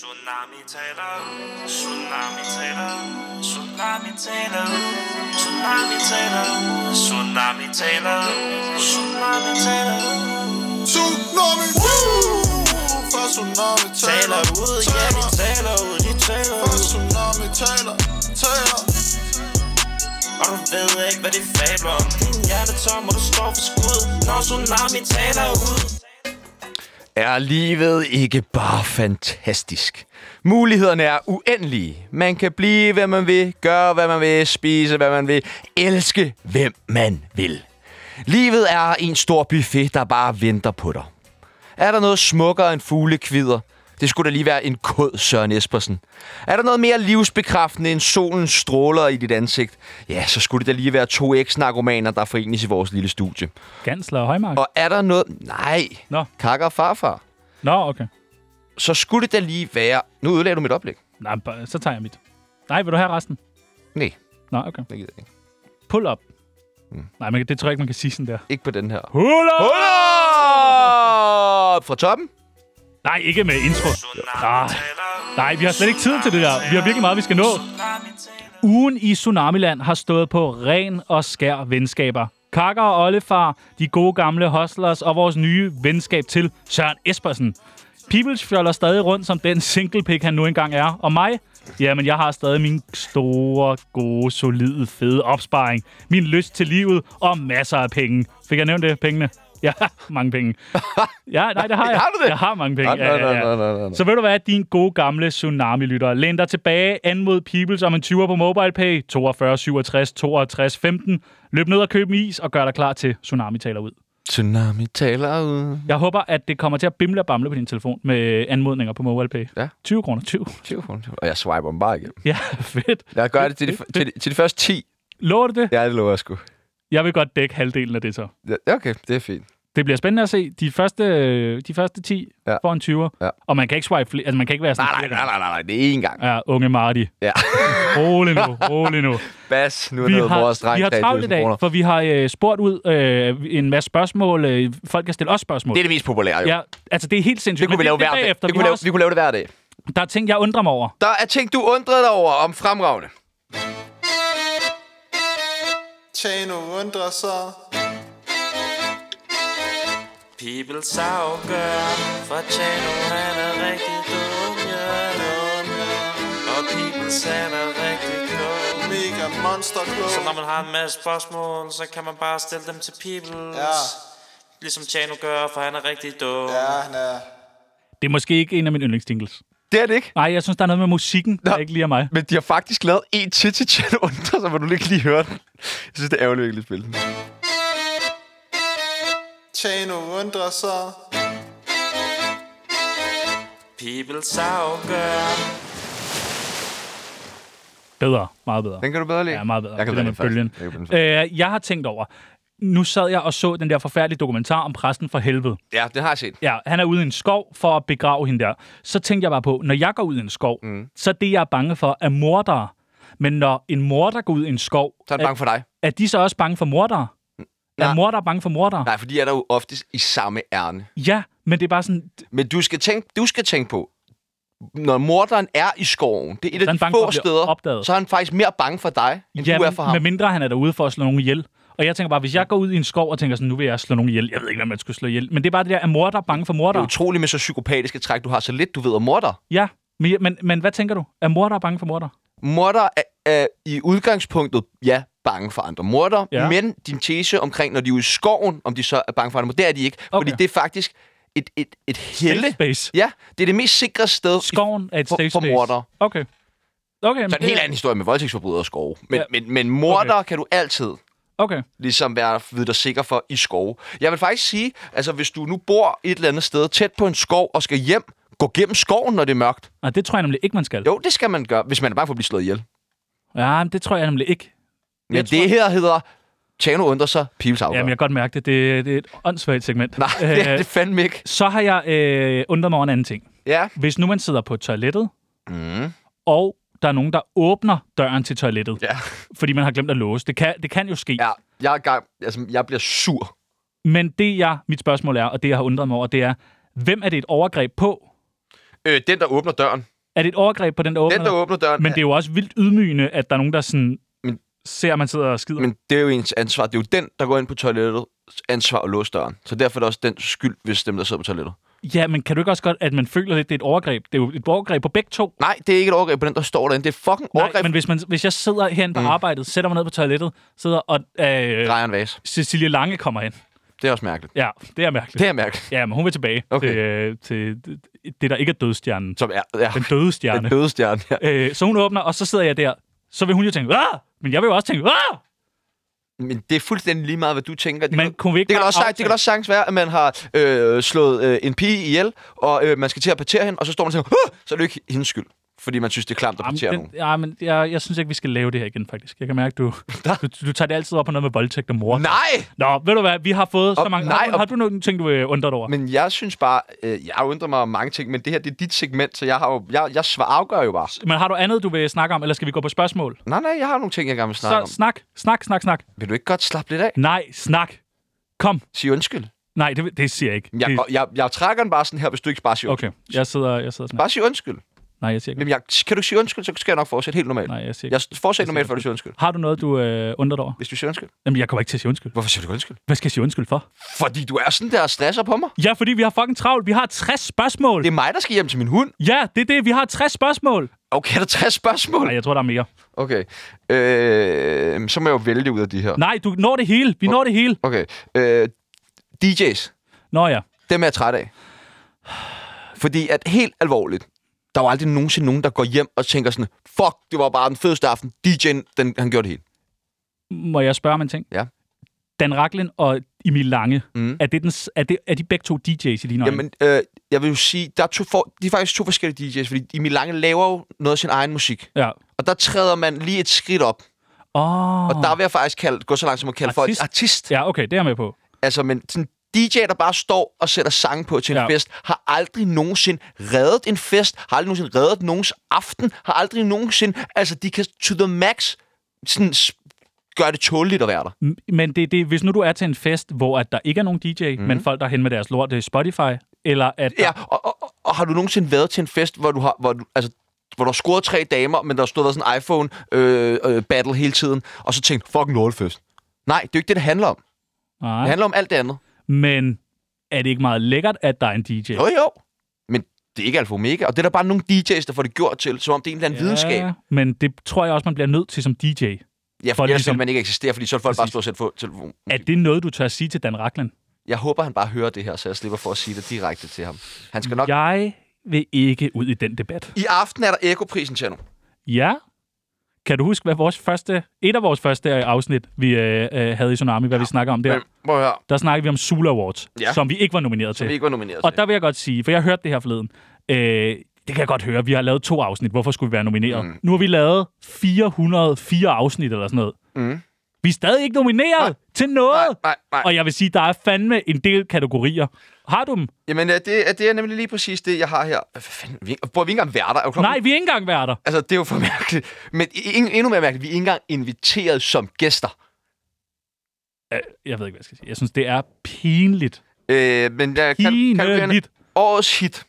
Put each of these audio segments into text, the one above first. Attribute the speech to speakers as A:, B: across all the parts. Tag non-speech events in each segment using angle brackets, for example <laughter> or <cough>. A: Tsunami taler, tsunami taler, tsunami taler, tsunami taler, tsunami taler, tsunami taler.
B: Tsunami Woo! For tsunami
A: Taler
B: taler
A: ud, ja de taler ud, de taler
B: For
A: ud.
B: tsunami taler Taler
A: Og du ved ikke, hvad de fabler om. Din hjerte tom, og du står for skud, når tsunami taler ud.
C: Er livet ikke bare fantastisk? Mulighederne er uendelige. Man kan blive, hvad man vil, gøre, hvad man vil, spise, hvad man vil, elske, hvem man vil. Livet er en stor buffet, der bare venter på dig. Er der noget smukkere end fuglekvider? Det skulle da lige være en kod, Søren Espersen. Er der noget mere livsbekræftende end solens stråler i dit ansigt? Ja, så skulle det da lige være to eks-narkomaner, der forenes i vores lille studie.
D: Gansler og Højmark.
C: Og er der noget... Nej,
D: Nå.
C: kakker og farfar
D: Nå, okay.
C: så skulle det da lige være... Nu ødelagde du mit oplæg.
D: Nej, bare- så tager jeg mit. Nej, vil du have resten?
C: Nej,
D: Nå, okay.
C: det gider jeg ikke.
D: Pull up. Mm. Nej, man, kan- det tror jeg ikke, man kan sige sådan der.
C: Ikke på den her.
D: Pull up!
C: Hold op! Fra toppen?
D: Nej, ikke med intro. Nej, Ah, nej, vi har slet ikke tid til det der. Vi har virkelig meget, vi skal nå. Ugen i Tsunamiland har stået på ren og skær venskaber. Kakker og Ollefar, de gode gamle hustlers og vores nye venskab til Søren Espersen. Peoples fjoller stadig rundt som den singlepik, han nu engang er. Og mig? Jamen, jeg har stadig min store, gode, solide, fede opsparing. Min lyst til livet og masser af penge. Fik jeg nævnt det? Pengene? Ja, <laughs> mange penge. Ja, nej, det har jeg.
C: <laughs> Har du det?
D: Jeg har mange penge.
C: Nej, nej, nej, nej, nej, nej.
D: Så ved du hvad, din gode gamle Tsunami-lytter. Læn dig tilbage, anmod Peoples om en 20'er på MobilePay, 42 67 62 15. Løb ned og køb en is, og gør dig klar til Tsunami taler ud.
C: Tsunami taler ud.
D: Jeg håber, at det kommer til at bimle og bamle på din telefon med anmodninger på MobilePay.
C: Ja.
D: 20 kroner, 20.
C: Og jeg swiper dem bare igen.
D: <laughs> Ja, fedt.
C: Jeg gør det til de, til, de, til de første 10.
D: Lover du det?
C: Ja, det lover jeg sgu.
D: Jeg vil godt dække halvdelen af det så.
C: Ja, okay, det er fint.
D: Det bliver spændende at se. De første, øh, de første 10
C: Ja.
D: ja. får en 20'er.
C: Ja.
D: Og man kan ikke swipe flere. Altså, man kan ikke være sådan...
C: Nej, nej, nej, nej, nej, nej. det er én gang.
D: Ja, unge Marty.
C: Ja.
D: Rolig nu, rolig nu.
C: <laughs> Bas, nu er noget vores dreng.
D: vi har
C: der er
D: travlt i
C: 1000
D: dag,
C: kroner.
D: for vi har øh, spurgt ud øh, en masse spørgsmål. Øh, folk kan stille os spørgsmål.
C: Det er det mest populære, jo.
D: ja, altså det er helt sindssygt.
C: Det kunne
D: men
C: vi lave
D: det,
C: hver
D: det er
C: dag.
D: bagefter.
C: Det
D: vi
C: kunne vi,
D: har
C: lave, vi
D: også,
C: kunne lave det hver dag.
D: der er ting, jeg undrer mig over.
C: Der er ting, du undrede dig over om fremragende.
B: Tjano undrer sig
A: People afgør, for Tjano han er rigtig dum, ja. Og people han er rigtig klog.
B: Mega monster
A: Så når
B: klog
A: man har en masse spørgsmål, så kan man bare stille dem til Peoples.
B: Ja.
A: Ligesom Tjano gør, for han er rigtig dum.
B: Ja, han er
D: Det er måske ikke en af mine yndlingstingles.
C: Det er det ikke.
D: Nej, jeg synes, der er noget med musikken, der
C: Nå.
D: ikke lige er mig.
C: Men de har faktisk lavet en til til Channel <laughs> Undre, så må du ikke lige høre den. Jeg synes, det er ærgerligt, at jeg ikke lige spille den.
B: Tjano undrer sig
A: Peoples afgør.
D: Bedre, meget bedre.
C: Den kan du bedre lide?
D: Ja, meget bedre.
C: Jeg kan
D: det
C: bedre
D: der med bølgen.
C: faktisk. Jeg kan bedre lide
D: Øh, jeg har tænkt over, nu sad jeg og så den der forfærdelige dokumentar om præsten fra helvede.
C: den. Ja, det har jeg set.
D: Ja, han er ude i en skov for at begrave hende der. Så tænkte jeg bare på, når jeg går ud i en skov, mm. så er det, jeg er bange for, er mordere. Men når en morder går ud i en skov,
C: Så er den bange for Mm. dig.
D: er de så også bange for mordere?
C: nej.
D: Er mordere bange for mordere?
C: Nej, for de er der jo oftest i samme ærne.
D: Ja, men det er bare sådan... d-
C: Men du skal tænke, du skal tænke på, når morderen er i skoven, det er et af
D: er han
C: de
D: bange for
C: få
D: at blive
C: steder,
D: opdaget.
C: så er han faktisk mere bange for dig, end du er for ham.
D: med mindre han er derude for at slå nogen ihjel. Og jeg tænker bare, hvis jeg går ud i en skov og tænker sådan, nu vil jeg slå nogen ihjel. Jeg ved ikke, om man skulle slå ihjel. Men det er bare det der, er mordere bange for
C: Det er
D: mordere?
C: utroligt med så psykopatiske træk, du har så lidt, du ved om morder.
D: Ja, men, men, men hvad tænker du? Er mordere bange for mordere?
C: Morder er, er i udgangspunktet, ja, bange for andre morder, ja.
D: Ja.
C: men din tese omkring, når de er ude i skoven, om de så er bange for andre morder, det er de ikke. Okay.
D: Okay.
C: Fordi det er faktisk et, et, et
D: Safe
C: helle.
D: space.
C: Ja, det er det mest sikre sted. i-
D: Skoven er et
C: for-
D: safe
C: for
D: space.
C: mordere.
D: Okay. Okay. men
C: Så er det en
D: det-
C: helt anden historie med voldtægtsforbrydere og skove. Men, ja.
D: Ja.
C: men, men morder okay. kan du altid
D: Okay.
C: ligesom være ved dig sikker for i skove. Jeg vil faktisk sige, altså hvis du nu bor et eller andet sted tæt på en skov og skal hjem, gå gennem skoven, når det er mørkt.
D: Nej, Ah, det tror jeg nemlig ikke, man skal.
C: Jo, det skal man gøre, hvis man er bange for at blive slået ihjel.
D: Ja, men det tror jeg nemlig ikke.
C: Men
D: Jeg
C: det
D: tror-
C: her hedder, Tjano undrer sig, Pibels afgør.
D: Jamen, jeg kan godt mærke det. Det, det er et åndssvagt segment.
C: Nej, <laughs> det er
D: Øh,
C: det fandme ikke.
D: Så har jeg øh, undret mig over en anden ting.
C: Ja.
D: Hvis nu man sidder på toilettet,
C: Mm.
D: og der er nogen, der åbner døren til toilettet,
C: Ja.
D: fordi man har glemt at låse. Det kan, det kan jo ske.
C: ja. Jeg, er gang, altså, jeg bliver sur.
D: Men det, jeg, mit spørgsmål er, og det, jeg har undret mig over, det er, hvem er det et overgreb på?
C: Øh, den, der åbner døren.
D: Er det et overgreb på den, der åbner?
C: Den, der åbner døren.
D: Men det er jo også vildt ydmygende, at der er nogen, der sådan
C: Men-
D: ser, at man sidder og skider.
C: Men det er jo ens ansvar. Det er jo den, der går ind på toilettet, ansvar at låse døren. Så derfor er det også den skyld, hvis dem, der sidder på toilettet.
D: Ja, men kan du ikke også godt, at man føler lidt, det er et overgreb? Det er jo et overgreb på begge to.
C: Nej, det er ikke et overgreb på den, der står derinde. Det er et fucking
D: Nej,
C: overgreb.
D: men hvis, man, hvis jeg sidder herinde på mm. arbejdet, sætter mig ned på toilettet, sidder og øh,
C: Drejer en vase.
D: Cecilie Lange kommer ind.
C: Det er også mærkeligt.
D: Ja, det er mærkeligt.
C: Det er mærkeligt.
D: Ja, men hun vil tilbage
C: Okay.
D: til, øh, til det- det, der ikke er dødstjernen.
C: Som er, ja, <laughs>
D: Den døde
C: den
D: stjerne.
C: døde stjerne. Ja.
D: Øh, så hun åbner, og så sidder jeg der. Så vil hun jo tænke, Aah! men jeg vil jo også tænke, Aah!
C: Men det er fuldstændig lige meget, hvad du tænker. Det
D: Men
C: kan-
D: kunne vi ikke
C: det kan,
D: bare
C: også, det
D: aftale-
C: kan også sagtens være, at man har øh, slået øh, en pige ihjel, og øh, man skal til at partere hende, og så står man og tænker, "Åh!" så er det jo ikke hendes skyld, fordi man synes, det er klamt at
D: Jamen,
C: partere nogen.
D: den, ja, men jeg, jeg synes ikke, vi skal lave det her igen, faktisk. Jeg kan mærke,
C: <laughs>
D: du, du, du tager det altid op på noget med voldtægt og mor.
C: Nej!
D: Nå, ved du hvad, vi har fået så
C: Og-
D: mange...
C: nej,
D: har, du,
C: og-
D: har du nogen ting, du øh, undrer dig over?
C: Men jeg synes bare, øh, jeg undrer mig om mange ting, men det her, det er dit segment, så jeg, har jo, jeg, jeg svar, afgør jo bare.
D: Men har du andet, du vil snakke om, eller skal vi gå på spørgsmål?
C: Nej, nej, jeg har nogle ting, jeg gerne vil snakke
D: Så
C: om.
D: snak, snak, snak, snak.
C: Vil du ikke godt slappe lidt af?
D: Nej, snak. Kom.
C: Sig undskyld.
D: Nej, det, vil- det siger jeg ikke.
C: Jeg,
D: det,
C: og jeg, jeg trækker den bare sådan her, hvis du ikke bare siger
D: okay, jeg sidder, jeg sidder sådan her.
C: Bare sig undskyld.
D: Nej, jeg siger ikke.
C: Jamen, jeg, kan du sige undskyld, så skal jeg nok fortsætte helt normalt.
D: Nej, jeg siger ikke.
C: Jeg fortsætter normalt, før du siger undskyld.
D: Har du noget, du øh, undrer dig over?
C: Hvis du siger undskyld.
D: Jamen, jeg kommer ikke til at sige undskyld.
C: Hvorfor siger du undskyld?
D: Hvad skal jeg sige undskyld for?
C: Fordi du er sådan der og stresser på mig.
D: Ja, fordi vi har fucking travlt. Vi har 60 spørgsmål.
C: Det er mig, der skal hjem til min hund.
D: Ja, det er det. Vi har 60 spørgsmål.
C: Okay, der er 60 spørgsmål.
D: Nej, jeg tror, der er mere.
C: Okay. Øh, så må jeg jo vælge ud af de her.
D: Nej, du når det hele. Vi når det hele.
C: Okay. Øh, DJ's.
D: Nå ja.
C: Dem er jeg træt af. Fordi at helt alvorligt, der er jo aldrig nogensinde nogen, der går hjem og tænker sådan, fuck, det var bare den fedeste aften. DJ'en, den, han gjorde det helt.
D: Må jeg spørge om en ting?
C: Ja.
D: Dan Raklin og Emil Lange,
C: Mm.
D: mm. er, det den, s- er, det, er de begge to DJ's i dine øjne?
C: Jamen, øh, jeg vil jo sige, der er, to for, de er faktisk to forskellige DJ's, fordi Emil Lange laver jo noget af sin egen musik.
D: Ja.
C: Og der træder man lige et skridt op.
D: Åh.
C: Og der vil jeg faktisk kalde, gå så langt som at kalde folk
D: Artist.
C: artist.
D: Ja, okay, det er jeg med på.
C: Altså, men sådan DJ, der bare står og sætter sange på til en
D: Ja.
C: ja. fest, har aldrig nogensinde reddet en fest, har aldrig nogensinde reddet nogens aften, har aldrig nogensinde... Altså, de kan to the max sådan, s- gøre det tåligt at være der.
D: M- Men det, det, hvis nu du er til en fest, hvor at der ikke er nogen DJ, mm. men folk, der er hen med deres lort i Spotify, eller at der,
C: Mhm. Ja, og, og, og, og har du nogensinde været til en fest, hvor du har... Hvor du, altså, hvor der har scoret tre damer, men der har stået været sådan en iPhone-battle øh, battle hele tiden, og så tænkt, fucking lortefest. Nej, det er jo ikke det, det handler om. Det
D: Nej,
C: handler om alt det andet.
D: men er det ikke meget lækkert, at der er en DJ?
C: Jo, jo. Men det er ikke alfa og omega, og det er der bare nogle DJ's, der får det gjort til, som om det er en eller anden ja. videnskab.
D: Men det tror jeg også, man bliver nødt til som DJ.
C: Ja,
D: For
C: for ellers
D: ligesom-
C: vil man ikke eksistere, fordi så vil folk bare
D: Præcis.
C: stå og sætte på telefonen.
D: Er det noget, du tør sige til Dan Raklen?
C: Jeg håber, han bare hører det her, så jeg slipper for at sige det direkte til ham. Han skal nok... Ja.
D: Jeg vil ikke ud i den debat.
C: I aften er der Ekoprisen, Tjerno.
D: Ja. Kan du huske, hvad vores første, et af vores første øh, afsnit, vi øh, øh, havde i Tsunami, hvad ja. vi snakker om der?
C: Men prøv at høre,
D: Der snakkede vi om Sula Awards, ja.
C: Ja.
D: som vi ikke var nomineret
C: som
D: til.
C: vi ikke var nomineret
D: Og
C: til.
D: der vil jeg godt sige, for jeg hørte det her forleden. Øh, det kan jeg godt høre. Vi har lavet to afsnit. Hvorfor skulle vi være nomineret? Mm. Nu har vi lavet 404 afsnit eller sådan noget.
C: Mm.
D: Vi er stadig ikke nomineret nej. til noget.
C: Nej, nej, nej.
D: Og jeg vil sige, der er fandme en del kategorier. Har du dem?
C: Jamen, øh, det, er- det er nemlig lige præcis det, jeg har her. Hvad fanden? Vi, prøv, vi er ikke engang værter. Er du klar?
D: Nej, vi er ikke engang værter.
C: Altså, det er jo for mærkeligt. Men i- en- endnu mere mærkeligt, vi er ikke engang inviteret som gæster.
D: Øh, Jeg ved ikke, hvad jeg skal sige. Jeg synes, det er pinligt.
C: Øh, men jeg kan, kan, kan,
D: Pinligt.
C: Årets hit.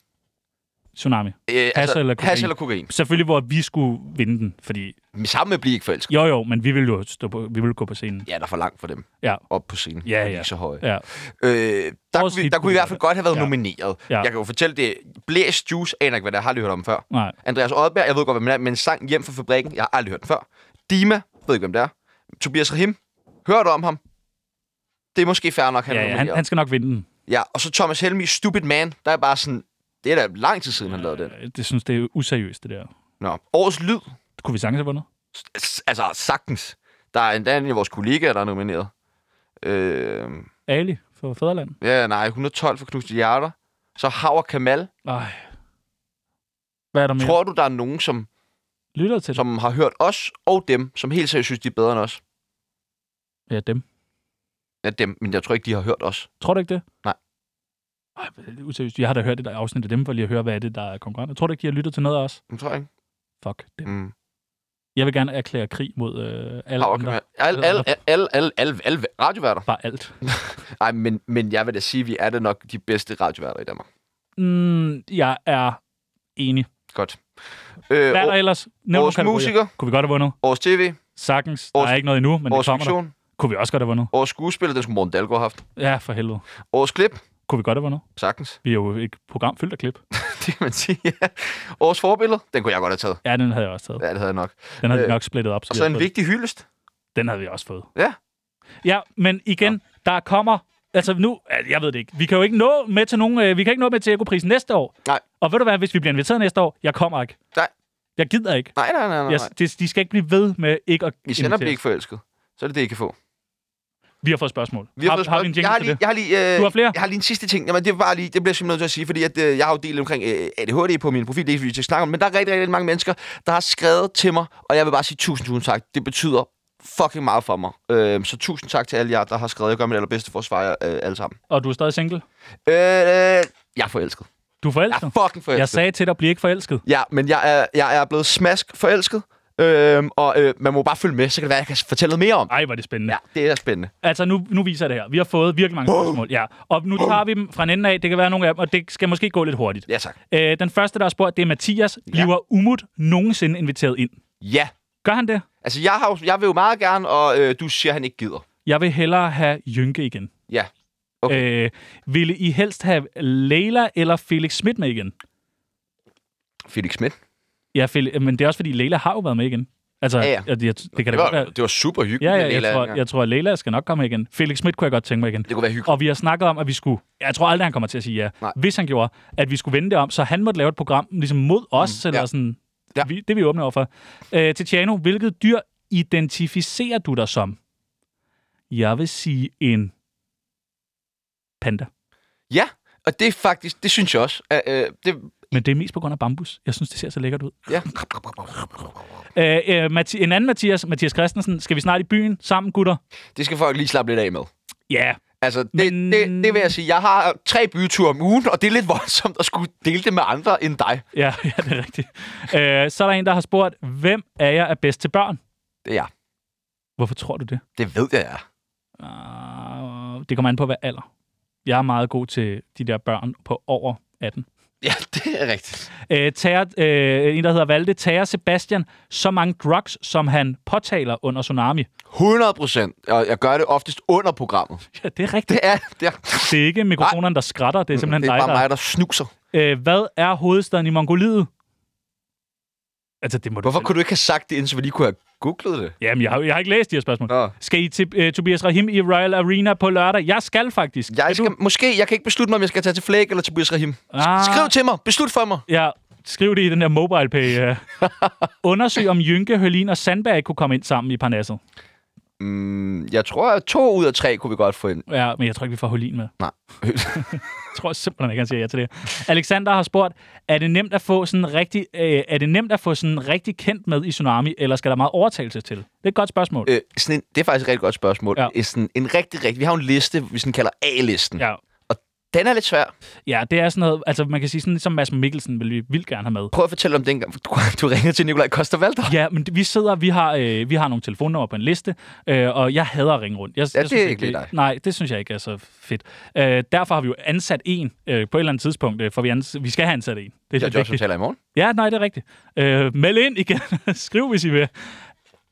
D: Tsunami.
C: Øh,
D: Hash eller kokain?
C: Hash eller kokain.
D: Selvfølgelig, hvor vi skulle vinde den, fordi...
C: Men Sammen med Bliv ikke forelsket.
D: Jo, jo, men vi ville jo stå på, vi ville gå på scenen.
C: Ja, der er for langt for dem.
D: Ja.
C: Op på scenen.
D: Ja,
C: De er
D: ja.
C: Ikke så høje.
D: Ja.
C: Øh, der,
D: Vores
C: kunne vi,
D: hit
C: der kunne vi i hvert fald godt have været
D: Ja.
C: ja. nomineret. Ja.
D: Ja.
C: Jeg kan jo fortælle det. Blæs Juice, aner ikke, hvad det er. Har aldrig hørt om før.
D: Nej.
C: Andreas Oddberg, jeg ved godt, hvem det er, men sang Hjem fra fabrikken, jeg har aldrig hørt den før. Dima, ved ikke, hvem det er. Tobias Rahim, hørt om ham. Det er måske fair nok, han
D: Ja,
C: er
D: ja,
C: nomineret.
D: han, han skal nok vinde den.
C: Ja, og så Thomas Helmi, Stupid Man, der er bare sådan... Det er da lang tid siden, han lavede den.
D: Øh, Det synes, det er useriøst, det der.
C: Nå, årets lyd.
D: Det kunne vi sagtens have vundet.
C: S- altså, sagtens. Der er endda en af vores kollegaer, der er nomineret. Øh,
D: Ali for Fæderland.
C: ja, nej, 112 for knuste hjerter. Så Hav og Kamal.
D: Ej. Hvad er der mere?
C: Tror du, der er nogen, som
D: Lytter til
C: som har hørt os og dem, som helt seriøst synes, de er bedre end os.
D: dem. Ja, dem.
C: Ja, dem, men jeg tror ikke, de har hørt os.
D: Tror du ikke det?
C: Nej.
D: Ej, men det er useriøst. Jeg har da hørt det der afsnit af dem, for lige at høre, hvad er det, der er konkurrenter. Tror du ikke, de har lyttet til noget af os?
C: Det tror jeg ikke.
D: Fuck dem.
C: Mm.
D: Jeg vil gerne erklære krig mod øh, alle
C: Power
D: andre.
C: Command. Alle, alle, alle, alle, alle, alle
D: <laughs>
C: radioværter.
D: Bare alt.
C: Ej, men, men jeg vil da sige, at vi er da nok de bedste radioværter i Danmark.
D: Mm, jeg er Enig.
C: Godt. Øh,
D: Hvad er der
C: år,
D: ellers? Nævn
C: årets
D: nogle kategorier.
C: musiker,
D: Kunne vi godt have vundet?
C: årets tv,
D: Sagtens. Der
C: Årets-
D: er ikke noget endnu, men det
C: årets
D: kommer der.
C: fiktion,
D: Kunne vi også godt have vundet?
C: årets skuespiller, det skulle Morten Dalgaard have haft.
D: Ja, for helvede.
C: Årets klip,
D: Kunne vi godt have vundet?
C: sagtens. <laughs>
D: Vi er jo et program fyldt af klip.
C: Det kan man sige, ja. Årets forbillede, den kunne jeg godt have taget.
D: Ja, den havde jeg også taget.
C: Ja, det havde jeg nok.
D: Den havde øh,
C: Øh,
D: vi nok splittet op.
C: Og
D: vi
C: så
D: havde
C: en
D: fået-
C: vigtig hyldest.
D: Den havde vi også fået.
C: Ja.
D: Ja, men igen, der kommer... Altså nu, altså, jeg ved det ikke. Vi kan jo ikke nå med til nogen, øh, vi kan ikke nå med til Ekoprisen næste år.
C: Nej.
D: Og ved du hvad, hvis vi bliver inviteret næste år, jeg kommer ikke.
C: Nej.
D: Jeg gider ikke.
C: Nej, nej, nej, nej.
D: Jeg,
C: nej.
D: de, de skal ikke blive ved med ikke at
C: I sender
D: invitere
C: bliver
D: os.
C: ikke forelsket. Så er det det, I kan få.
D: Vi har fået spørgsmål.
C: Vi har, fået
D: har vi en
C: jeg
D: jingle
C: har
D: til
C: lige,
D: det?
C: jeg har lige, øh,
D: Du har flere?
C: Jeg har lige en sidste ting. Jamen, det, er bare lige, det bliver jeg simpelthen nødt til at sige, fordi at, øh, jeg har jo delt omkring øh, ADHD på min profil. Det er ikke, fordi vi skal snakke om, men der er rigtig, rigtig mange mennesker, der har skrevet til mig, og jeg vil bare sige tusind, tusind tak. Det betyder fucking meget for mig. Øh, så tusind tak til alle jer, der har skrevet. Jeg gør mit allerbedste for at svare jer øh, alle sammen.
D: Og du er stadig single?
C: Øh, øh, jeg er forelsket.
D: Du er
C: Jeg
D: forelsket?
C: er fucking forelsket.
D: Jeg sagde til dig, bliv ikke forelsket.
C: Ja, men jeg er, jeg er blevet smask forelsket. Øhm, og øh, man må bare følge med, så kan det være, jeg kan fortælle noget mere om.
D: Ej, var det spændende.
C: Ja, det er spændende.
D: Altså, nu, nu viser jeg det her. Vi har fået virkelig mange spørgsmål. Ja. Og nu tager vi dem fra en ende af. Det kan være nogle af dem, og det skal måske gå lidt hurtigt.
C: Ja, tak.
D: Øh, den første, der har spurgt, det er Mathias. Bliver Umut nogensinde inviteret ind?
C: Ja.
D: Gør han det?
C: Altså, jeg, har, jo- jeg vil jo meget gerne, og øh, du siger, at han ikke gider.
D: Jeg vil hellere have Jynke igen.
C: Ja. Okay.
D: Øh, ville I helst have Leila eller Felix Schmidt med igen?
C: Felix Schmidt.
D: Ja, Fel- øh, men det er også, fordi Leila har jo været med igen. Altså,
C: Ja, ja.
D: Jeg, jeg, det kan da
C: Det var,
D: godt være...
C: det var super hyggeligt.
D: Ja,
C: med
D: ja, jeg
C: Leila
D: tror,
C: dengang.
D: jeg tror, at Leila skal nok komme igen. Felix Schmidt kunne jeg godt tænke mig igen.
C: Det kunne være hyggeligt.
D: Og vi har snakket om, at vi skulle... Jeg tror aldrig, han kommer til at sige ja.
C: Nej.
D: Hvis han gjorde, at vi skulle vende det om, så han måtte lave et program ligesom mod os, mm, eller
C: ja.
D: sådan...
C: Ja.
D: Vi, det er vi åbne over for. Øh, Titiano, hvilket dyr identificerer du dig som? Jeg vil sige en panda.
C: Ja, og det er faktisk, det synes jeg også. Øh, øh, det,
D: Men det er mest på grund af bambus. Jeg synes, det ser så lækkert ud.
C: ja.
D: Øh, øh, Mathi- en anden Mathias, Mathias Christensen. Skal vi snart i byen sammen, gutter?
C: det skal folk lige slappe lidt af med.
D: Ja. Yeah.
C: Altså, det,
D: Men-
C: Men... det, det vil jeg sige. Jeg har tre byture om ugen, og det er lidt voldsomt at skulle dele det med andre end dig.
D: Ja, <laughs> ja, det er rigtigt. Øh, så er der en, der har spurgt, hvem af jer er bedst til børn?
C: Det er jeg.
D: Hvorfor tror du det?
C: Det ved jeg, jeg er.
D: Uh, det kommer an på, hvad alder. Jeg er meget god til de der børn på over 18.
C: Ja, det er rigtigt.
D: Øh, tager, øh, en, der hedder Valde, tager Sebastian så mange drugs, som han påtaler under Tsunami.
C: 100 procent. Og jeg gør det oftest under programmet.
D: Ja, det er rigtigt.
C: Det er, det er,
D: Det er ikke mikrofonerne, der skratter. Det er simpelthen
C: det er bare
D: dig,
C: mig, der snuser.
D: der... Øh, hvad er hovedstaden i Mongoliet? Altså, det må
C: Hvorfor
D: du...
C: kunne du ikke have sagt det, indtil vi lige kunne have googlet det?
D: Jamen, jeg har, jeg har ikke læst de her spørgsmål.
C: Nå.
D: Skal I til øh, Tobias Rahim i Royal Arena på lørdag? Jeg skal faktisk.
C: Jeg
D: Skal
C: skal,
D: du?
C: Måske, jeg kan ikke beslutte mig, om jeg skal tage til Flæk eller til Tobias Rahim.
D: Ah.
C: Ah. Skriv til mig. Beslut for mig.
D: Ja, skriv det i den der mobile pay. Uh. Undersøg, om Jynke, Hølin og Sandberg kunne komme ind sammen i Parnasset.
C: Mm, jeg tror, at to ud af tre kunne vi godt få ind.
D: Ja, men jeg tror ikke, vi får Hølin med.
C: Nej. <laughs>
D: Jeg tror simpelthen ikke, han siger ja til det. Alexander har spurgt, er det nemt at få sådan rigtig, øh, er det nemt at få sådan rigtig kendt med i Tsunami, eller skal der meget overtagelse til? Det er et godt spørgsmål. Øh.
C: øh, sådan en, det er faktisk et rigtig godt spørgsmål.
D: Ja.
C: Ja. Sådan en rigtig, rigtig... Vi har jo en liste, vi sådan kalder A-listen.
D: Ja.
C: Den er lidt svær.
D: ja, det er sådan noget, altså man kan sige sådan, som Mads Mikkelsen vil vi vildt gerne have med.
C: Prøv at fortælle om dengang, du, du ringede til Nikolaj Koster-Valder.
D: Ja, men vi sidder, vi har, øh, vi har nogle telefonnummer på en liste, øh, og jeg hader at ringe rundt. Jeg,
C: Ja,
D: jeg
C: det
D: synes
C: er ikke lige dig.
D: Nej, det synes jeg ikke er så fedt. Øh, derfor har vi jo ansat en øh, på et eller andet tidspunkt, øh, for vi, ans- vi skal have ansat en. Det
C: Jeg
D: lidt
C: er Josh, taler i morgen.
D: Ja, nej, det er rigtigt. Øh, meld ind igen. <laughs> Skriv, hvis I vil.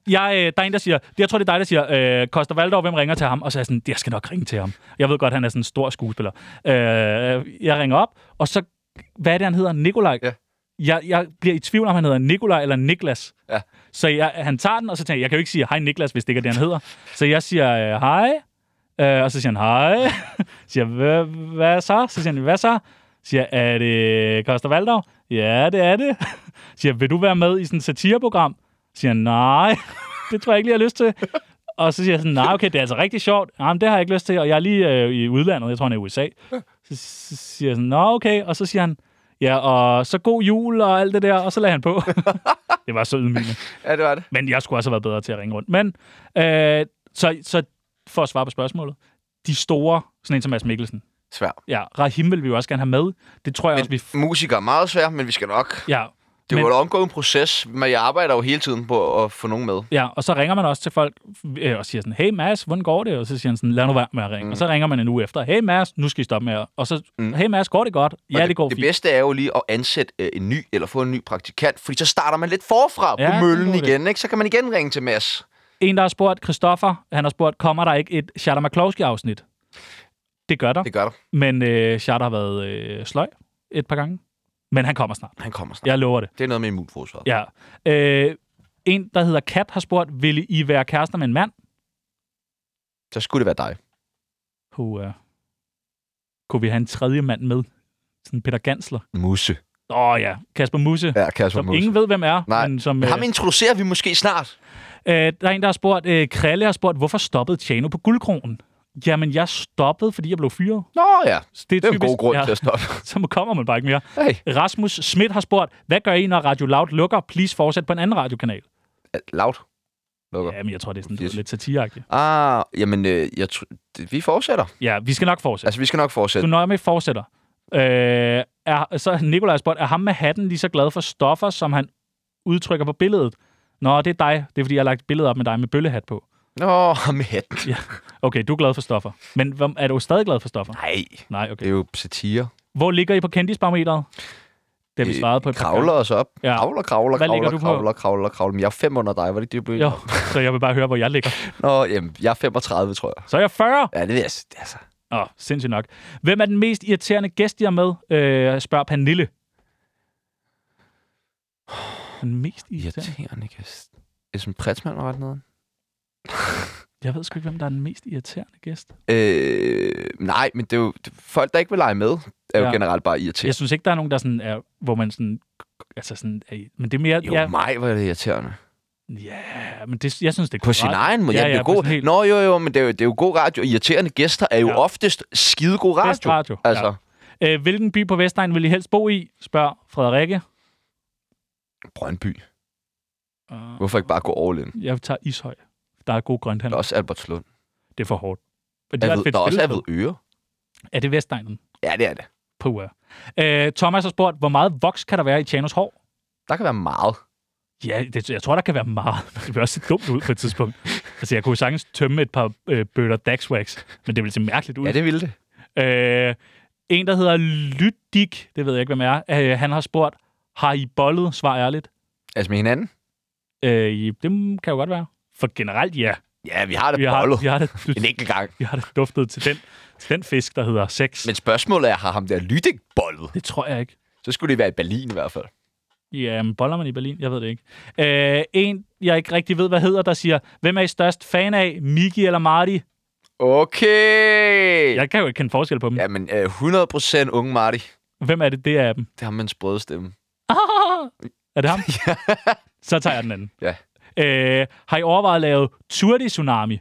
D: Jeg, øh, der er en, der siger, jeg tror, det er dig, der siger, øh, Koster Valdor, hvem ringer til ham? Og så er jeg sådan, jeg skal nok ringe til ham. Jeg ved godt, han er sådan en stor skuespiller. Øh, jeg ringer op, og så, hvad er det, han hedder? Nikolaj?
C: Ja.
D: Jeg, jeg bliver i tvivl, om han hedder Nikolaj eller Niklas.
C: Ja.
D: Så jeg, han tager den, og så tænker jeg, jeg kan jo ikke sige, hej Niklas, hvis det ikke er det, han hedder. Så jeg siger, øh, hej. Øh, og så siger han, hej. <laughs> siger, "Hva- hvad så? Så siger han, hvad så? Siger, er det Koster Valdov? Ja, det er det. <laughs> siger, vil du være med i sådan et satireprogram? Siger han, nej, <laughs> det tror jeg ikke lige, jeg har lyst til. Og så siger jeg sådan, nej, okay, det er altså rigtig sjovt. Jamen, det har jeg ikke lyst til, og jeg er lige øh, i udlandet, jeg tror, han er i USA. Så, så siger jeg sådan, nå, okay. Og så siger han, ja, og så god jul og alt det der, og så lagde han på. <laughs> det var så ydmygende.
C: Ja, det var det.
D: Men jeg skulle også have været bedre til at ringe rundt. Men, øh, så, så for at svare på spørgsmålet, de store, sådan en som Mads Mikkelsen,
C: Svær.
D: ja, Rahim vil vi jo også gerne have med. Det tror jeg også, vi...
C: Musikere er meget svær, men vi skal nok...
D: Ja,
C: Det er
D: Men-
C: jo en omgående proces, men jeg arbejder jo hele tiden på at få nogen med.
D: Ja, og så ringer man også til folk øh, og siger sådan, hey Mads, hvordan går det? Og så siger han sådan, lad nu være med at ringe. Mm. Og så ringer man en uge efter, hey Mads, nu skal I stoppe med at... Og så, mm. hey Mads, går det godt? Ja,
C: Og
D: det, det går
C: det
D: fint.
C: bedste er jo lige at ansætte øh, en ny, eller få en ny praktikant, fordi så starter man lidt forfra
D: Ja, det
C: ja,
D: er
C: på
D: en
C: møllen
D: god idé.
C: igen, ikke? Så kan man igen ringe til Mads.
D: En, der har spurgt, Christoffer, han har spurgt, kommer der ikke et Shatter McCloskey-afsnit? Det gør der,
C: Det gør der.
D: men øh, Shatter har været øh, sløj et par gange. Men han kommer snart.
C: Han kommer snart. Ja.
D: Jeg lover det.
C: Det er noget med immunforsvaret. Ja.
D: Ja. Øh, en, der hedder Kat, har spurgt, vil I være kærester med en mand?
C: Så skulle det være dig.
D: Puh, uh, kunne vi have en tredje mand med? Sådan Peter Gansler.
C: Musse.
D: Åh oh, ja, Kasper Musse.
C: Ja, Kasper
D: Som
C: Musse.
D: ingen ved, hvem er.
C: Nej.
D: Men som, øh,
C: Men ham introducerer vi måske snart.
D: øh, der er en, der har spurgt, øh, Krille har spurgt, hvorfor stoppede Tjano på guldkronen? Jamen, jeg stoppede, fordi jeg blev fyret.
C: Nå ja,
D: Det er,
C: det er en
D: typisk-
C: god grund
D: ja.
C: til at stoppe.
D: <laughs> Så kommer man bare ikke mere.
C: Hey,
D: Rasmus Schmidt har spurgt, hvad gør I, når Radio Loud lukker? Please fortsæt på en anden radiokanal.
C: loud. Lukker. Ja.
D: Jamen, jeg tror, det er sådan du ved,
C: Yes.
D: lidt satireagtigt.
C: Ah, jamen, øh, jeg tr- det- vi fortsætter.
D: Ja, vi skal nok fortsætte.
C: Altså, vi skal nok
D: Du
C: fortsætte.
D: nøjer med fortsætter. Øh, er, så Nikolaj har spurgt, er ham med hatten lige så glad for stoffer, som han udtrykker på billedet? Nå, det er dig. Det er, fordi jeg har lagt billedet op med dig med bøllehat på.
C: Nå, ham med hatten.
D: Okay, du er glad for stoffer. Men hvem- er du stadig glad for stoffer?
C: Nej,
D: Nej, okay.
C: det er jo satire.
D: Hvor ligger I på kendisbarometeret? Det har vi
C: Øh,
D: svaret på et par
C: Kravler os op.
D: Ja.
C: Ja. Kravler, kravler,
D: Hvad
C: kravler,
D: ligger
C: kravler,
D: du på?
C: kravler, kravler, Men jeg er fem under dig, var det ikke det, du blev?
D: gange. Jo, så jeg vil bare høre, hvor jeg ligger.
C: Nå, jamen, jeg er 35, tror jeg.
D: Så er jeg 40!
C: Ja, det er altså... Det er altså.
D: Åh, sindssygt nok. Hvem er den mest irriterende gæst, I har med? Øh, spørger Pernille. Den mest irriterende?
C: Irriterende gæst. Esben Pretzmann var ret nede.
D: Jeg ved sgu ikke, hvem der er den mest irriterende gæst.
C: Øh, nej, men det er jo... det- Folk, der ikke vil lege med, er jo
D: Ja.
C: ja. generelt bare irriterende.
D: Jeg synes ikke, der er nogen, der sådan er, hvor man sådan... Altså sådan, er, i- men det er mere...
C: Jo,
D: ja,
C: mig var det irriterende.
D: ja, men det, jeg synes, det er
C: På sin
D: korrekt.
C: egen måde.
D: Ja,
C: Ja, ja,
D: ja,
C: det er
D: på
C: god.
D: sådan helt-
C: Nå, jo, jo, men det er jo, det er jo god radio. Irriterende gæster er jo
D: Ja.
C: ja. oftest skide god radio.
D: Bedst radio, ja.
C: Altså,
D: Øh, hvilken by på Vestegn vil I helst bo i? Spørger Frederikke.
C: Brøndby.
D: Øh,
C: Hvorfor ikke bare gå all in?
D: Jeg tager Ishøj. Der er god
C: Der er
D: grønthandler.
C: også Albertslund.
D: Det er for hårdt. Men det er, et
C: Aved,
D: fedt
C: der er også
D: spillested.
C: Aved Øre.
D: Er det Vestegnen?
C: Ja, det er det.
D: Puh. Øh, Thomas har spurgt, hvor meget voks kan der være i Tjanos hår?
C: Der kan være meget.
D: Ja, det, jeg tror, der kan være meget. <laughs> Det vil også se dumt ud på et tidspunkt. Altså, jeg kunne jo sagtens tømme et par øh, bøtter Daxwax, men det ville se mærkeligt ud.
C: Ja, det ville det.
D: Øh, en, der hedder Lydik, det ved jeg ikke, hvem er, øh, han har spurgt, har I bollet? Svar ærligt.
C: Altså med hinanden?
D: Øh, I- det kan jo godt være. For generelt, ja.
C: Ja, vi har det
D: Vi har,
C: bollet.
D: vi har, det,
C: <laughs> En enkelt gang.
D: vi har det duftet til den, til den fisk, der hedder sex.
C: Men spørgsmålet er, har ham der Lydik bollet?
D: Det tror jeg ikke.
C: Så skulle det være i Berlin i hvert fald.
D: Ja, men boller man i Berlin? Jeg ved det ikke. Øh, en, jeg ikke rigtig ved, hvad hedder, der siger, hvem er I størst fan af, Miki eller Marty?
C: Okay!
D: Jeg kan jo ikke kende forskel på dem. Ja.
C: Jamen, øh, 100% unge Marty.
D: Hvem er det, det er af dem?
C: Det har man en sprøde stemme.
D: Er <laughs> det ham? Så tager jeg den anden.
C: Ja.
D: Øh, har I overvejet at lave Turdi Tsunami?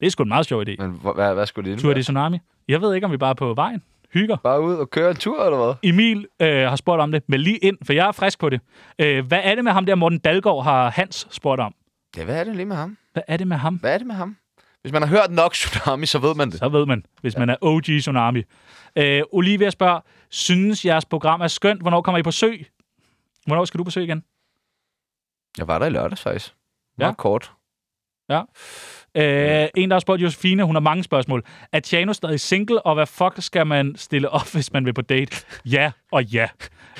D: Det er sgu en meget sjov idé. Ja.
C: Men hvor- hvad, hvad skulle det
D: Turdi
C: være?
D: Tsunami. Jeg ved ikke, om vi bare er på vejen. Hygger.
C: Bare ud og køre en tur, eller hvad?
D: Emil øh, har spurgt om det. Men lige ind, for jeg er frisk på det. Øh, hvad er det med ham der, Morten Dalgaard har Hans spurgt om?
C: Ja, hvad er det lige med ham?
D: Hvad er det med ham?
C: Hvad er det med ham? Hvis man har hørt nok Tsunami, så ved man det.
D: Så ved man, hvis ja. man er OG Tsunami. Øh, Olivia spørger, synes jeres program er skønt? Hvornår kommer I på sø? Hvornår skal du på sø igen?
C: Jeg var der i lørdags, faktisk.
D: Ja.
C: Meget kort.
D: Øh, en, der har spurgt Josefine, hun har mange spørgsmål. Er Tjano stadig single, og hvad fuck skal man stille op, hvis man vil på date? Ja og ja.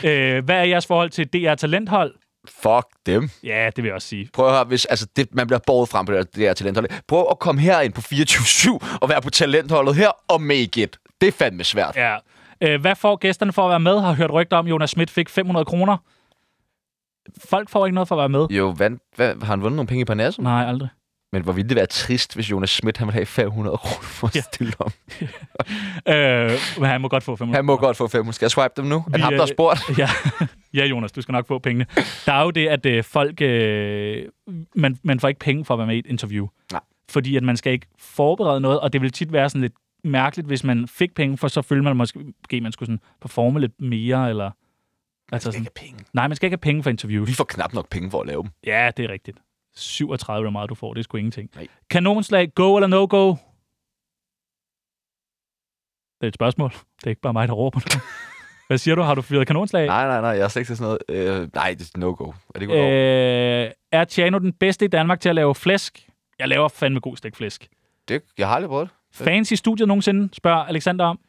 D: Øh, hvad er jeres forhold til DR Talenthold?
C: Fuck dem.
D: Ja, det vil jeg også sige.
C: Prøv at høre, hvis altså, det, man bliver båret frem på det, der- det her talenthold. Prøv at komme herind på 24-7 og være på talentholdet her og make it. Det er fandme svært. Ja.
D: Ja. Øh, hvad får gæsterne for at være med? Har hørt rygter om, Jonas Schmidt fik 500 kroner. Folk får ikke noget for at være med.
C: Jo, hvad, hvad, har han vundet nogle penge i Parnassen?
D: Nej, aldrig.
C: Men hvor ville det være trist, hvis Jonas Schmidt han ville have 500 kroner for at stille om.
D: Øh, men han må godt få 500
C: Han må godt få 500. Skal jeg swipe dem nu? Er
D: Vi,
C: det ham, der
D: øh,
C: har spurgt?
D: <laughs> Ja. ja, Jonas, du skal nok få pengene. Der er jo det, at øh, folk... Øh, man, man får ikke penge for at være med i et interview.
C: Nej.
D: Fordi at man skal ikke forberede noget, og det vil tit være sådan lidt mærkeligt, hvis man fik penge, for så følte man måske, måske man skulle sådan performe lidt mere, eller... Altså sådan,
C: penge.
D: nej, man skal ikke have penge for interviews.
C: Vi får knap nok penge for at lave dem.
D: Ja, det er rigtigt. 37 eller meget, du får. Det er sgu ingenting.
C: Nej.
D: Kanonslag, go eller no-go? Det er et spørgsmål. Det er ikke bare mig, der råber det. Hvad siger du? Har du fyret kanonslag?
C: Nej, nej, nej, jeg er slet ikke til sådan noget. Øh, nej, det er no-go. Er det godt? Øh,
D: Øh, er Tjano den bedste i Danmark til at lave flæsk? Jeg laver fandme god stegt flæsk.
C: det, jeg har aldrig prøvet det.
D: Fans i studiet nogensinde, spørger Alexander om.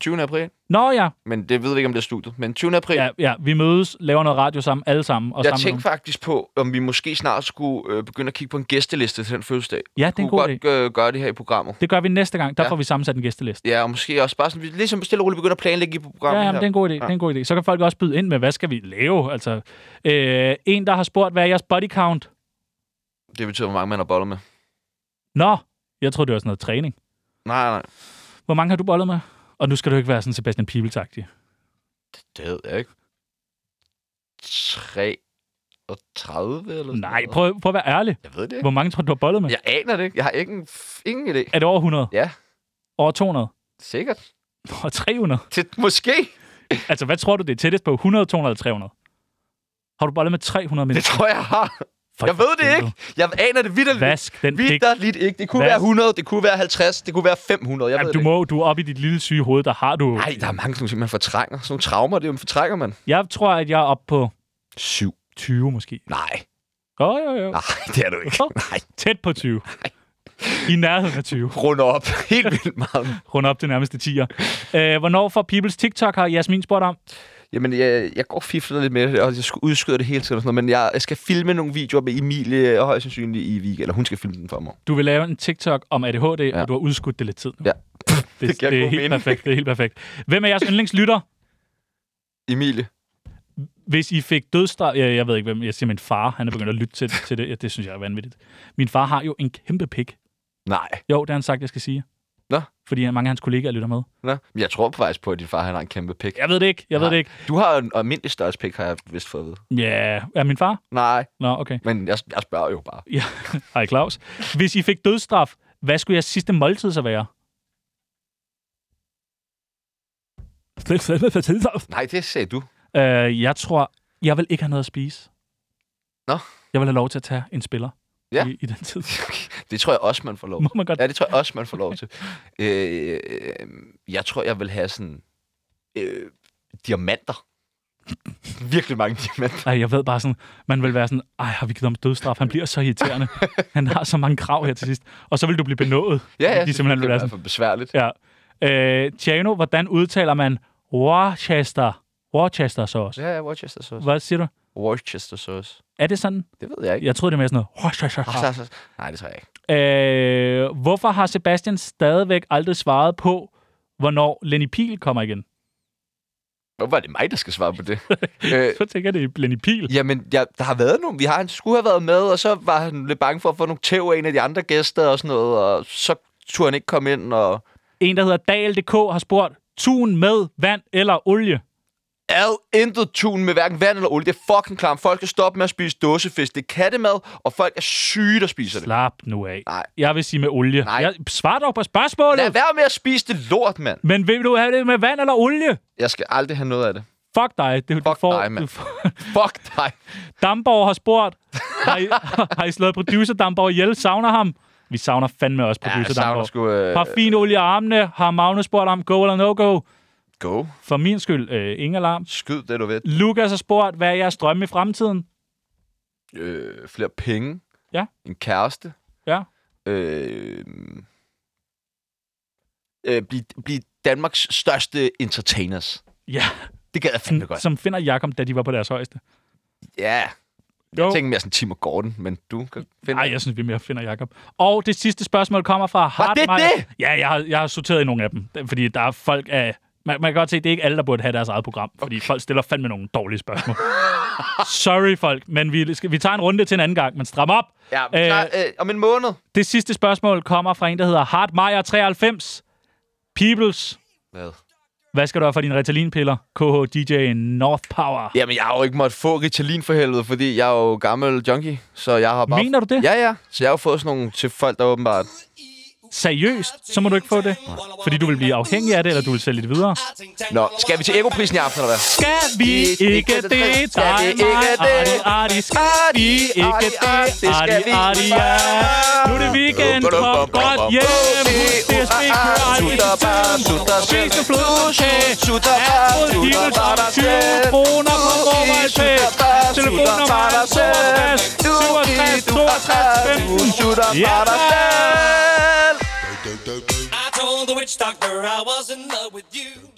C: 20. april.
D: Nå ja,
C: Men det ved vi ikke, om det er studiet. Men 20. april.
D: ja, ja vi mødes, laver noget radio sammen, alle sammen. Og
C: jeg
D: sammen med
C: tænkte faktisk på, om vi måske snart skulle øh, begynde at kigge på en gæsteliste til den fødselsdag.
D: Ja, det er en god
C: kunne godt øh, gøre det her i programmet.
D: nogle- Det gør vi næste gang, der ja.
C: Ja.
D: får vi sammensat en gæsteliste.
C: Ja, og måske også bare sådan, vi ligesom stille og roligt begynder at planlægge i
D: Ja,
C: programmet
D: ja,
C: her.
D: men det er en god idé, ja. det er en god idé. Så kan folk også byde ind med, hvad skal vi lave? Altså, øh, en, der har spurgt, hvad er jeres body count?
C: Det betyder, hvor mange man har bollet med.
D: Nå, jeg troede, det var sådan noget træning.
C: Nej, nej.
D: Hvor mange har du bollet med? Og nu skal du ikke være sådan Sebastian Pibels -agtig.
C: Det ved jeg ikke. 33 eller sådan
D: Nej,
C: noget.
D: prøv, prøv at være ærlig.
C: Jeg ved det ikke.
D: Hvor mange tror du, du har bollet med?
C: Jeg aner det ikke. Jeg har ikke en, f- ingen idé.
D: Er det over 100?
C: Ja.
D: Over 200?
C: Sikkert.
D: Over 300?
C: Det, måske.
D: Altså, hvad tror du, det er tættest på? 100, 200 eller 300? Har du bollet med 300
C: Det
D: mennesker?
C: tror jeg, jeg har.
D: For
C: Jeg ved det
D: helvede.
C: ikke. Jeg aner det vidderligt.
D: Vask den pik.
C: Vidderligt ikke. Det kunne
D: Vask.
C: være 100, det kunne være 50, det kunne være 500. Jeg ved
D: Jamen, du
C: det
D: må, du er oppe i dit lille syge hoved, der har du...
C: ikke. Nej, der er mange, som man fortrænger. Sådan nogle traumer, det er jo- fortrænger man.
D: Jeg tror, at jeg er oppe på
C: Syv.
D: 20 måske.
C: Nej.
D: Jo, jo, jo.
C: Nej, det er du ikke.
D: Hvorfor?
C: Nej.
D: Tæt på 20. I nærheden af 20.
C: Rund op. Helt vildt meget.
D: Rund op til nærmeste 10'er. Øh, hvornår får Peoples TikTok, har Jasmin spurgt om?
C: Jamen, jeg, jeg går og fifler lidt med det, og jeg skal udskyde det hele tiden og sådan noget, men jeg, jeg skal filme nogle videoer med Emilie, og højst sandsynligt i weekend, eller hun skal filme den for mig.
D: Du vil lave en TikTok om ADHD, ja.
C: Ja.
D: og du har udskudt det lidt tid nu.
C: Ja.
D: Det, det,
C: giver
D: det er
C: god
D: helt
C: mening.
D: perfekt. Det er helt perfekt. Hvem er jeres yndlingslytter?
C: Emilie.
D: hvis I fik dødsstraf... Jeg, jeg ved ikke, hvem... Jeg siger min far. Han er begyndt at lytte til, til det. Ja, det synes jeg er vanvittigt. Min far har jo en kæmpe pik.
C: Nej.
D: Jo, det har han sagt, jeg skal sige.
C: Nå.
D: Fordi mange af hans kollegaer lytter med.
C: Nå. men Jeg tror faktisk på, at din far han har en kæmpe pik.
D: Jeg ved det ikke. Jeg ved
C: Nej.
D: det ikke.
C: Du har en almindelig størrelse pik, har jeg vist fået at vide.
D: Ja, er min far?
C: Nej,
D: Nå, okay. <laughs>
C: men jeg, jeg spørger jo bare.
D: Ja. Hej, Claus. Hvis I fik dødsstraf, hvad skulle jeres sidste måltid så være?
C: Nej, det sagde du. <laughs>
D: Øh, jeg tror, jeg vil ikke have noget at spise.
C: Nå.
D: Jeg vil have lov til at tage en spiller
C: Ja.
D: i, i den tid.
C: Det tror jeg også, man får lov
D: Må man godt
C: Ja, det tror jeg også, man får lov til. <laughs> Øh, øh, jeg tror, jeg vil have sådan... Øh, diamanter. Virkelig mange diamanter.
D: Ej, jeg ved bare sådan, man vil være sådan, ej, har vi givet ham dødstraf? Han bliver så irriterende. Han har så mange krav her til sidst. Og så vil du blive benået.
C: Ja, ja.
D: De simpelthen vil
C: det
D: være
C: er
D: sådan,
C: for besværligt.
D: ja. Øh, Tjano, hvordan udtaler man Worcester? Worcester så også.
C: Ja, ja, Worcester sauce.
D: Hvad siger du?
C: Worcester sauce.
D: Er det sådan?
C: Det ved jeg ikke.
D: Jeg troede, det var mere sådan noget.
C: Ah,
D: Worcestershire.
C: så- så- Nej, det tror jeg ikke.
D: Øh, hvorfor har Sebastian stadigvæk aldrig svaret på, hvornår Lenny Pil kommer igen?
C: Hvorfor er det mig, der skal svare på det? øh,
D: Så tænker jeg, det er Lenny Pil.
C: jamen, ja, der har været nogle. Vi har, han skulle have været med, og så var han lidt bange for at få nogle tæv af en af de andre gæster og sådan noget, og så turde han ikke komme ind, og...
D: En, der hedder Dal.dk, har spurgt, tun med vand eller olie?
C: Ad intet tun med hverken vand eller olie. Det er fucking klamt. Folk skal stoppe med at spise dåsefisk. Det er kattemad, og folk er syge, der spiser det.
D: Slap nu af.
C: Nej.
D: Jeg vil sige med olie.
C: Nej.
D: Jeg svarer dog på spørgsmålet.
C: Lad være med at spise det lort, mand.
D: Men vil du have det med vand eller olie?
C: Jeg skal aldrig have noget af det.
D: Fuck dig. Det,
C: Fuck
D: du får,
C: dig, mand.
D: du får- <laughs>
C: Fuck dig.
D: Damborg har spurgt, har I, <laughs> har I slået producer Damborg ihjel? Savner ham? Vi savner fandme også
C: Ja, jeg
D: producer ja,
C: savner
D: Damborg.
C: sgu... Øh,
D: Parfinolie i armene har Magnus spurgt om. Go eller no-go?
C: go.
D: For min skyld, øh, ingen alarm.
C: Skyd det, du ved.
D: Lukas har spurgt, hvad er jeres drømme i fremtiden?
C: Øh, flere penge.
D: Ja.
C: En kæreste.
D: Ja.
C: Øh, øh, blive, blive Danmarks største entertainers.
D: Ja,
C: Det gad jeg fandme godt.
D: som finder Jakob, da de var på deres højeste.
C: Ja.
D: Jo.
C: Jeg tænker mere sådan Tim og Gordon, men du kan finde...
D: Nej, jeg synes, vi mere finder Jakob. Og det sidste spørgsmål kommer fra Hartmeier.
C: det
D: Ja, jeg har, jeg har sorteret i nogle af dem, fordi der er folk af... Man, man kan godt se, at det er ikke alle, der burde have deres eget program, fordi folk stiller fandme nogle dårlige spørgsmål. <laughs> Sorry, folk, men vi, skal, vi tager en runde til en anden gang, men stram op.
C: Ja,
D: Øh,
C: klar, øh, om en måned.
D: Det sidste spørgsmål kommer fra en, der hedder Hartmeier93. Peoples,
C: Hvad?
D: hvad skal du have for dine Ritalin-piller? KH DJ North Power.
C: Jamen, jeg har jo ikke måttet få Ritalin for helvede, fordi jeg er jo gammel junkie, så jeg har bare...
D: Mener du det?
C: Ja, ja. Så jeg har jo fået sådan nogle til folk, der åbenbart
D: seriøst, så må du ikke få det. Fordi du vil blive afhængig af det, eller du vil sælge det videre.
C: Nå, skal vi til Ekoprisen i aften, eller hvad?
D: Skal vi ikke det, dig, mig? Ardi, ardi, skal vi ikke det? Ardi, ardi, ja. Nu er det weekend, kom godt hjem. Husk DSB, kør aldrig i tiden. Spis en flodkage. Apple Heels om 20 kroner på Mobilepay. Telefonnummer 62 67 62 15. Ja, tak.
E: I told the witch doctor I was in love with you.